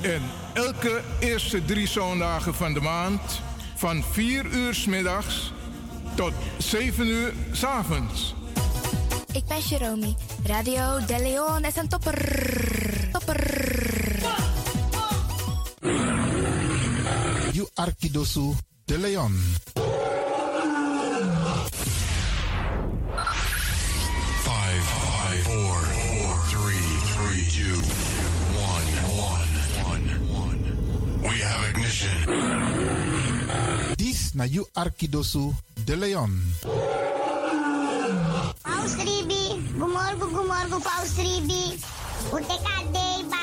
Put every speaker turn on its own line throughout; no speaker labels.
En elke eerste drie zondagen van de maand van 4 uur s middags tot 7 uur s avonds.
Ik ben Jerome. Radio De Leon is een topper. Topper.
Yu Arkidosu de Leon.
Five, five, four, four, three, three, two, one, one, one, one. We have ignition.
Dis na yu Arkidosu de Leon.
Paus Ribi, gumorgo, gumorgo, Paus Ribi. Uteka deiba.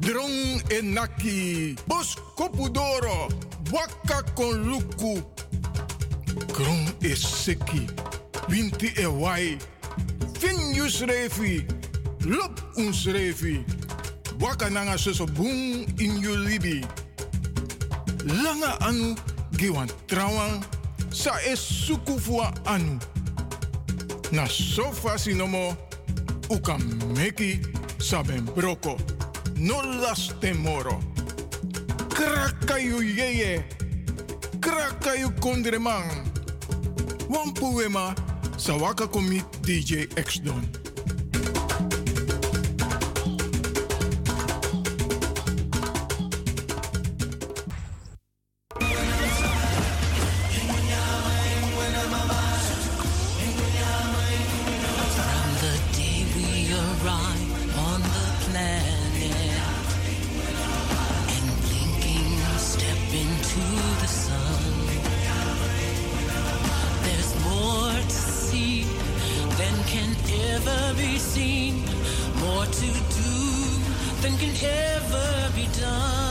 Drong enaki, bos kopudoro, waka konluku. Kron eseki, winti ewai, fin yus refi, lop uns refi. Waka nanga soso bung in yu libi. Langa anu giwan trawan, sa es sukufua anu. Na sofa sinomo, uka meki saben broko. No las temoro. Krakayu yeye. Krakayu kondreman. Wan poema sawaka komit DJ X Don.
From the day we arrive on the planet and blinking step into the sun, there's more to see than can ever be seen, more to do than can ever be done.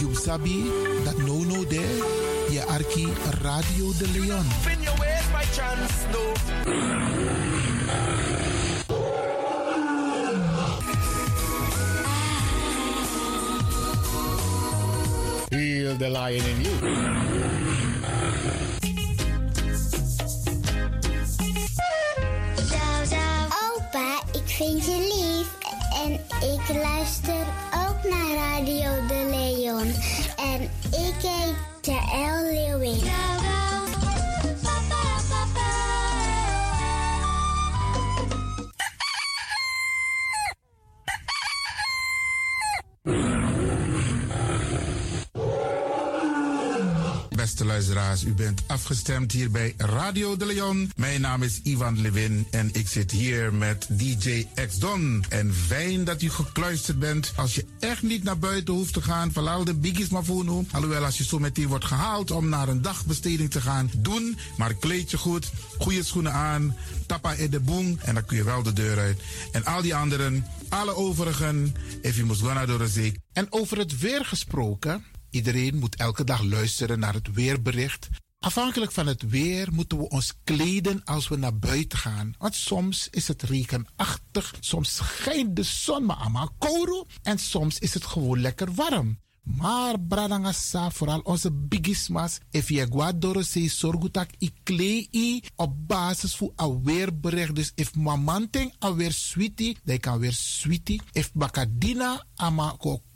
You sabi dat no no there. Je Arki Radio de Leon.
Fin your ways by chance, no.
Heal the lion in you.
Zou, zou. Opa, ik vind je lief. En ik luister ook naar Radio De Leon. En ik heet Jaël Leeuwin.
Beste luisteraars, u bent afgestemd hier bij Radio de Leon. Mijn naam is Ivan Levin en ik zit hier met DJ X Don. En fijn dat u gekluisterd bent. Als je echt niet naar buiten hoeft te gaan, verlaal de biggies maar voor nu. Alhoewel, als je zo meteen wordt gehaald om naar een dagbesteding te gaan, doen. Maar kleed je goed, goede schoenen aan, tappa in de boem en dan kun je wel de deur uit. En al die anderen, alle overigen, if you must go naar door de zee. En over het weer gesproken... Iedereen moet elke dag luisteren naar het weerbericht. Afhankelijk van het weer moeten we ons kleden als we naar buiten gaan. Want soms is het regenachtig, soms schijnt de zon maar allemaal kouro en soms is het gewoon lekker warm.
Maar bradangasa, vooral onze bigismas, if je guadoro se sorgutak i klei op basis voor aweerbericht. Dus if mamanting aweer sweetie, dan kan weer sweetie. If bakadina ama ko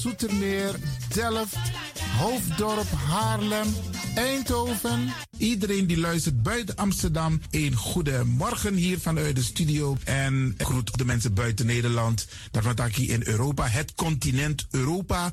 Zoetermeer, Delft, Hoofddorp, Haarlem, Eindhoven. Iedereen die luistert buiten Amsterdam, een goede morgen hier vanuit de studio. En ik groet de mensen buiten Nederland, dat wat ik hier in Europa, het continent Europa.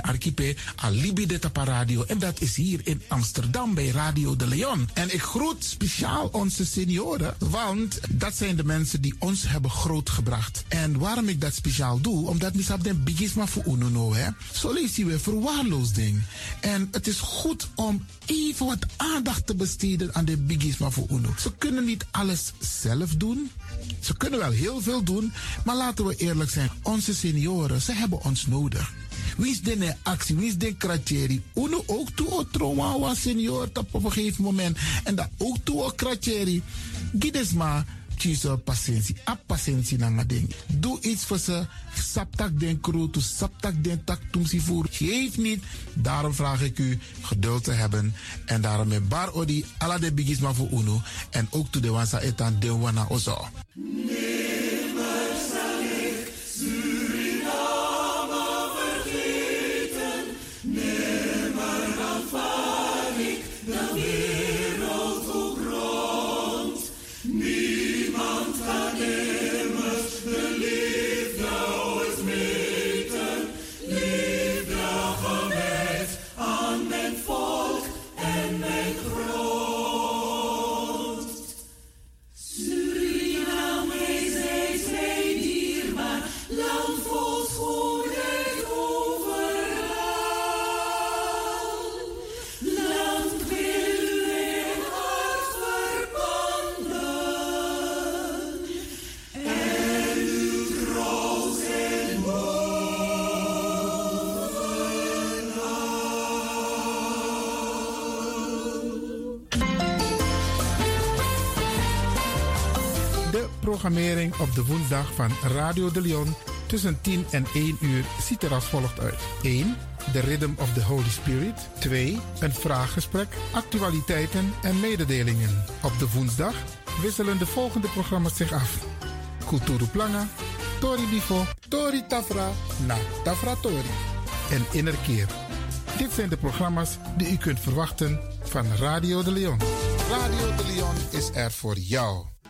archipel Alibi de Tapa Radio. En dat is hier in Amsterdam bij Radio de Leon. En ik groet speciaal onze senioren, want dat zijn de mensen die ons hebben grootgebracht. En waarom ik dat speciaal doe, omdat misap den bigisma voor unono, hè. Zo lezen we verwaarloosding. En het is goed om even wat aandacht te besteden aan de bigisma voor uno. Ze kunnen niet alles zelf doen. Ze kunnen wel heel veel doen, maar laten we eerlijk zijn. Onze senioren, ze hebben ons nodig. Wie is de actie? Wie is de kratjeri? Uno ook toe o trauma was senior tap op een gegeven moment. En dat ook toe o kratjeri. Gides maar. Tjizo patiëntie. A patiëntie na nga ding. Doe iets voor ze. Saptak den kroto. Saptak den tak tumsi voer. Geef niet. Daarom vraag ik u geduld te hebben. En daarom met bar odi. Alla de bigisma voor uno. En ook toe de wansa etan de wana ozo. De programmering op de woensdag van Radio de Leon tussen 10 en 1 uur ziet er als volgt uit. 1. De Rhythm of the Holy Spirit. 2. Een vraaggesprek, actualiteiten en mededelingen. Op de woensdag wisselen de volgende programma's zich af. Kulturu Planga, Tori Bifo, Tori Tafra, Na Tafra Tori en Innerkeer. Dit zijn de programma's die u kunt verwachten van Radio de Leon. Radio de Leon is er voor jou.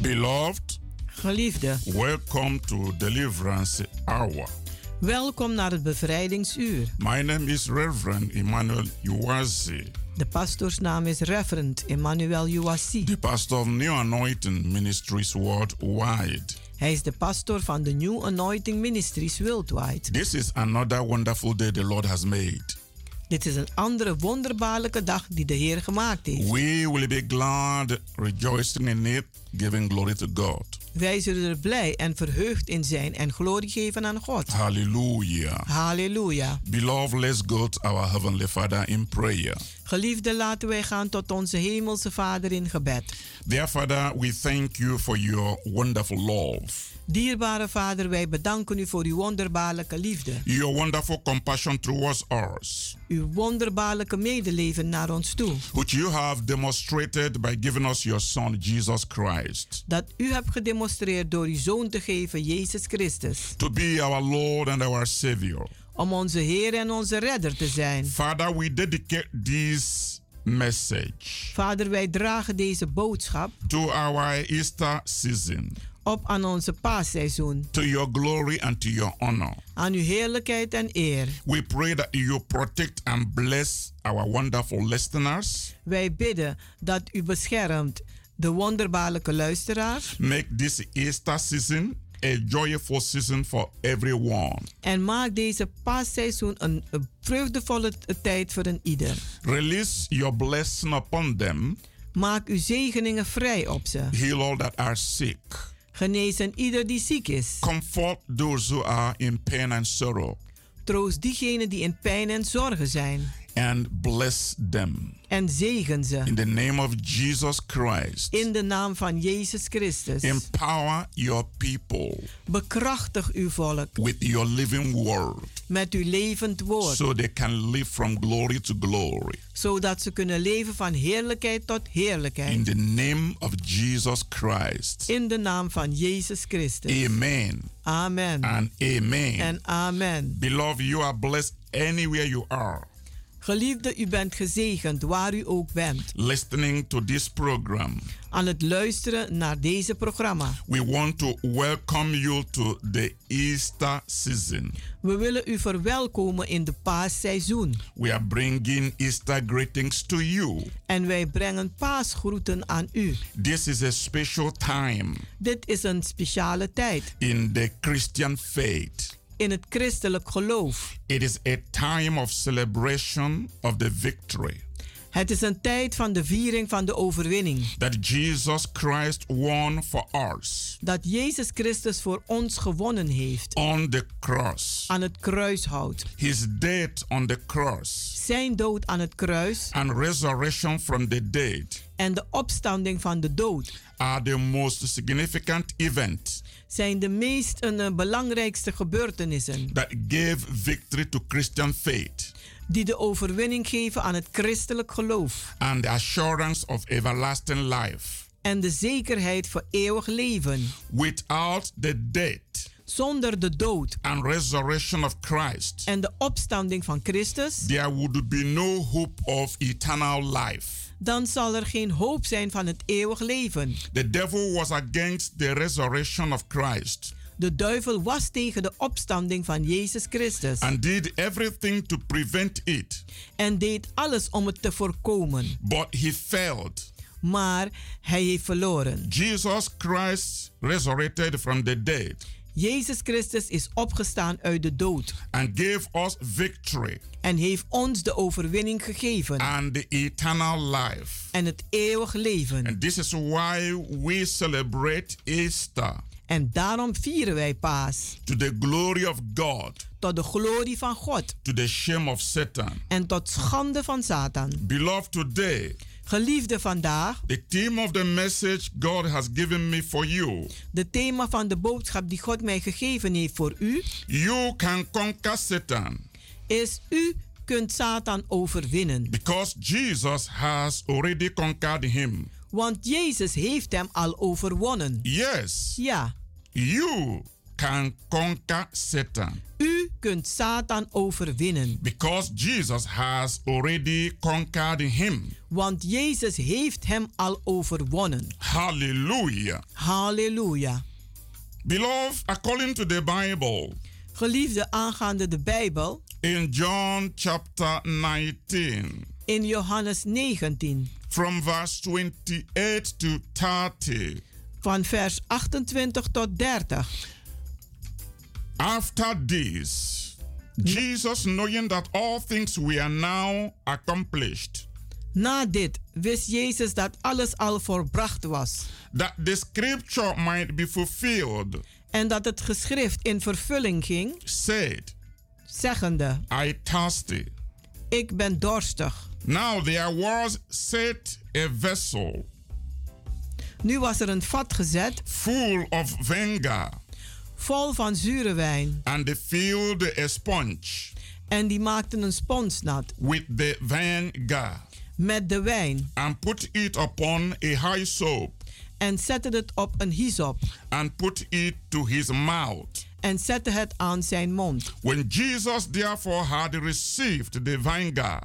Beloved,
geliefde,
welcome to Deliverance Hour.
Welkom naar het bevrijdingsuur.
My name is Reverend Emmanuel Uwazi,
De pastoorsnaam is Reverend Emmanuel Uwasi.
the pastor of New Anointing Ministries Worldwide.
Hij is de pastor van de New Anointing Ministries Worldwide.
This is another wonderful day the Lord has made.
Dit is een andere wonderbaarlijke dag die de Heer gemaakt heeft.
We will be glad, rejoicing in it, giving glory to God.
Wij zullen er blij en verheugd in zijn en glorie geven aan God.
Hallelujah.
Halleluja.
Beloved, let's go to our Heavenly Father in prayer.
Geliefde, laten wij gaan tot onze hemelse Vader in gebed.
Dear Father, we thank you for your wonderful love,
Dierbare Vader, wij bedanken u voor uw wonderbaarlijke liefde.
your wonderful compassion towards us,
Uw wonderbaarlijke medeleven naar ons toe.
which you have demonstrated by giving us your Son, Jesus Christ,
Dat u hebt gedemonstreerd door uw Zoon te geven, Jezus Christus.
to be our Lord and our Savior.
Om onze Heer en onze Redder te zijn.
Father, we dedicate this message
Vader, wij dragen deze boodschap
to our Easter season,
op aan onze paasseizoen.
to your glory and to your honor.
Aan uw heerlijkheid en eer.
We pray that you protect and bless our wonderful listeners.
Wij bidden dat u beschermt de wonderbaarlijke luisteraars.
Make this Easter season a joyful season for everyone.
En maak deze paasseizoen een, een vreugdevolle t- tijd voor een ieder.
Release your blessing upon them.
Maak uw zegeningen vrij op ze.
Heal all that are sick.
Genees een ieder die ziek is.
Comfort those who are in pain and sorrow.
Troost diegenen die in pijn en zorgen zijn.
And bless them.
En zegen
In
ze.
the name of Jesus Christ.
In de naam van Jezus Christus.
Empower your people
Bekrachtig uw volk
with your living word
met uw levend woord.
so they can live from glory to glory.
Zodat ze kunnen leven van heerlijkheid tot heerlijkheid.
In the name of Jesus Christ.
In de naam van Jezus Christus.
Amen
Amen.
and amen.
En amen.
Beloved, you are blessed anywhere you are
Geliefde, u bent gezegend waar u ook bent.
listening to this program.
Aan het luisteren naar deze programma.
We want to welcome you to the Easter season.
We willen u verwelkomen in de paasseizoen.
We are bringing Easter greetings to you.
En wij brengen paasgroeten aan u.
This is a special time
Dit is een speciale tijd
in the Christian faith.
in het christelijk geloof.
It is a time of celebration of the victory
Het is een tijd van de viering van de overwinning.
that Jesus Christ won for us
Dat Jezus Christus voor ons gewonnen heeft.
on the cross.
Aan het kruis houdt.
His death on the cross
Zijn dood aan het kruis
and resurrection from the dead
en de opstanding van de dood
are the most significant event
zijn de meest en eh, belangrijkste gebeurtenissen
that gave victory to Christian faith
die de overwinning geven aan het christelijk geloof
and the assurance of everlasting life.
en de zekerheid voor eeuwig leven.
Without the death
Zonder de dood
and resurrection of Christ,
en de opstanding van Christus,
there would be no hope of eternal life.
dan zal er geen hoop zijn van het eeuwig leven.
The devil was against the resurrection of Christ
De duivel was tegen de opstanding van Jezus Christus
and did everything to prevent it,
en deed alles om het te voorkomen.
but he failed.
Maar hij heeft verloren.
Jesus Christ resurrected from the dead
Jezus Christus is opgestaan uit de dood
and gave us victory
en heeft ons de overwinning gegeven
and the eternal life.
en het eeuwig leven.
And this is why we celebrate Easter
En daarom vieren wij Paas.
to the glory of God,
Tot de glorie van God
to the shame of Satan.
en tot schande van Satan.
Beloved, today,
Geliefde vandaag,
the theme of the message God has given me for you,
de thema van de boodschap die God mij gegeven heeft voor u,
you can conquer Satan
is u kunt Satan overwinnen.
because Jesus has already conquered him.
Want Jezus heeft hem al overwonnen.
Yes,
Ja,
you can conquer Satan
u kunt Satan overwinnen.
because Jesus has already conquered him.
Want Jezus heeft hem al overwonnen.
Hallelujah.
Halleluja.
Beloved, according to the Bible,
Geliefde aangaande de Bijbel,
in John chapter 19,
in Johannes 19,
from verse 28 to 30,
van vers 28 tot 30.
after this, Jesus, knowing that all things were now accomplished,
Na dit wist Jezus dat alles al volbracht was
that the scripture might be fulfilled,
en dat het geschrift in vervulling ging,
said,
zeggende,
I thirsty.
ik ben dorstig.
Now there was set a vessel
Nu was er een vat gezet,
full of vinegar,
vol van zure wijn,
and they filled a sponge
en die maakten een spons nat
with the vinegar,
met de wijn
and put it upon a high soap,
en zetten het op een hyzop
and put it to his mouth.
en zetten het aan zijn mond.
When Jesus therefore had received the vinegar,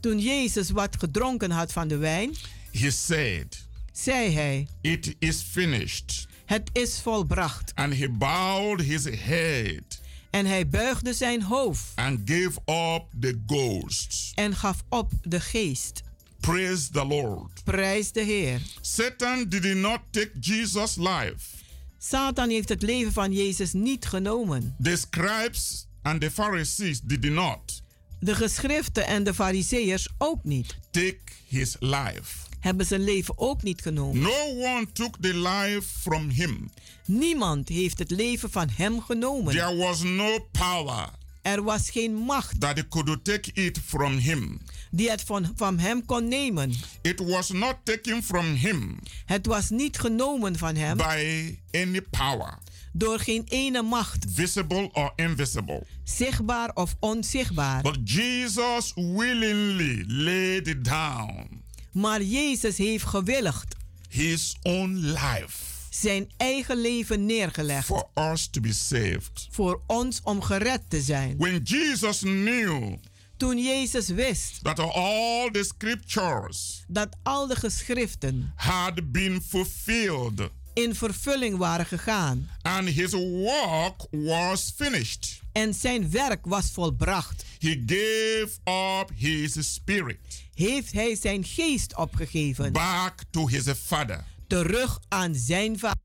Toen Jezus wat gedronken had van de wijn,
he said,
zei hij,
It is finished.
het is volbracht.
And he bowed his head
En hij buigde zijn hoofd
and gave up the ghost.
en gaf op de geest.
Praise the Lord.
Prijs de Heer.
Satan did not take Jesus' life.
Satan heeft het leven van Jezus niet genomen.
The scribes and the Pharisees did not
De geschriften en de fariseërs ook niet.
take his life.
Hebben zijn leven ook niet genomen.
No one took the life from him.
Niemand heeft het leven van hem genomen.
There was no power
Er was geen macht
that could take it from him.
die het van, van hem kon nemen.
It was not taken from him
Het was niet genomen van hem
by any power,
door geen ene macht,
visible or invisible.
zichtbaar of onzichtbaar.
But Jesus willingly laid down
Maar Jezus heeft gewilligd
his own life
zijn eigen leven neergelegd
for us to be saved.
voor ons om gered te zijn.
When Jesus knew
Toen Jezus wist
that all the scriptures
dat al de geschriften
had been fulfilled
in vervulling waren gegaan
and his work was finished,
en zijn werk was volbracht,
he gave up his spirit
heeft hij zijn geest opgegeven
back to his Father.
terug aan zijn vader.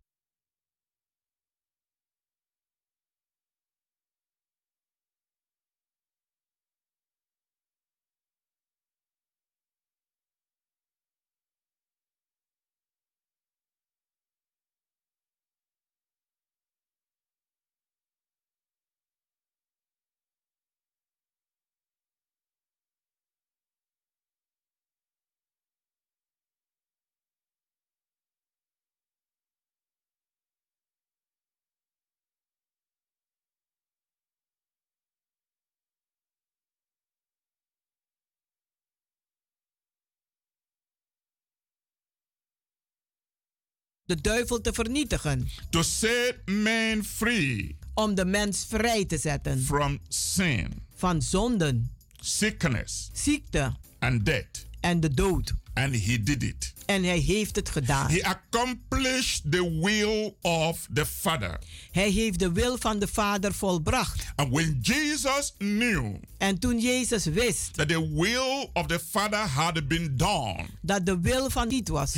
de duivel te vernietigen,
to set man free
om de mens vrij te zetten
from sin,
van zonden,
sickness,
ziekte
and death.
en de dood.
And he did it.
En hij heeft het gedaan.
He accomplished the will of the Father.
Hij heeft de wil van de Vader volbracht.
And when Jesus knew
En toen Jezus wist
that the will of the Father had been done,
dat de wil van niet was,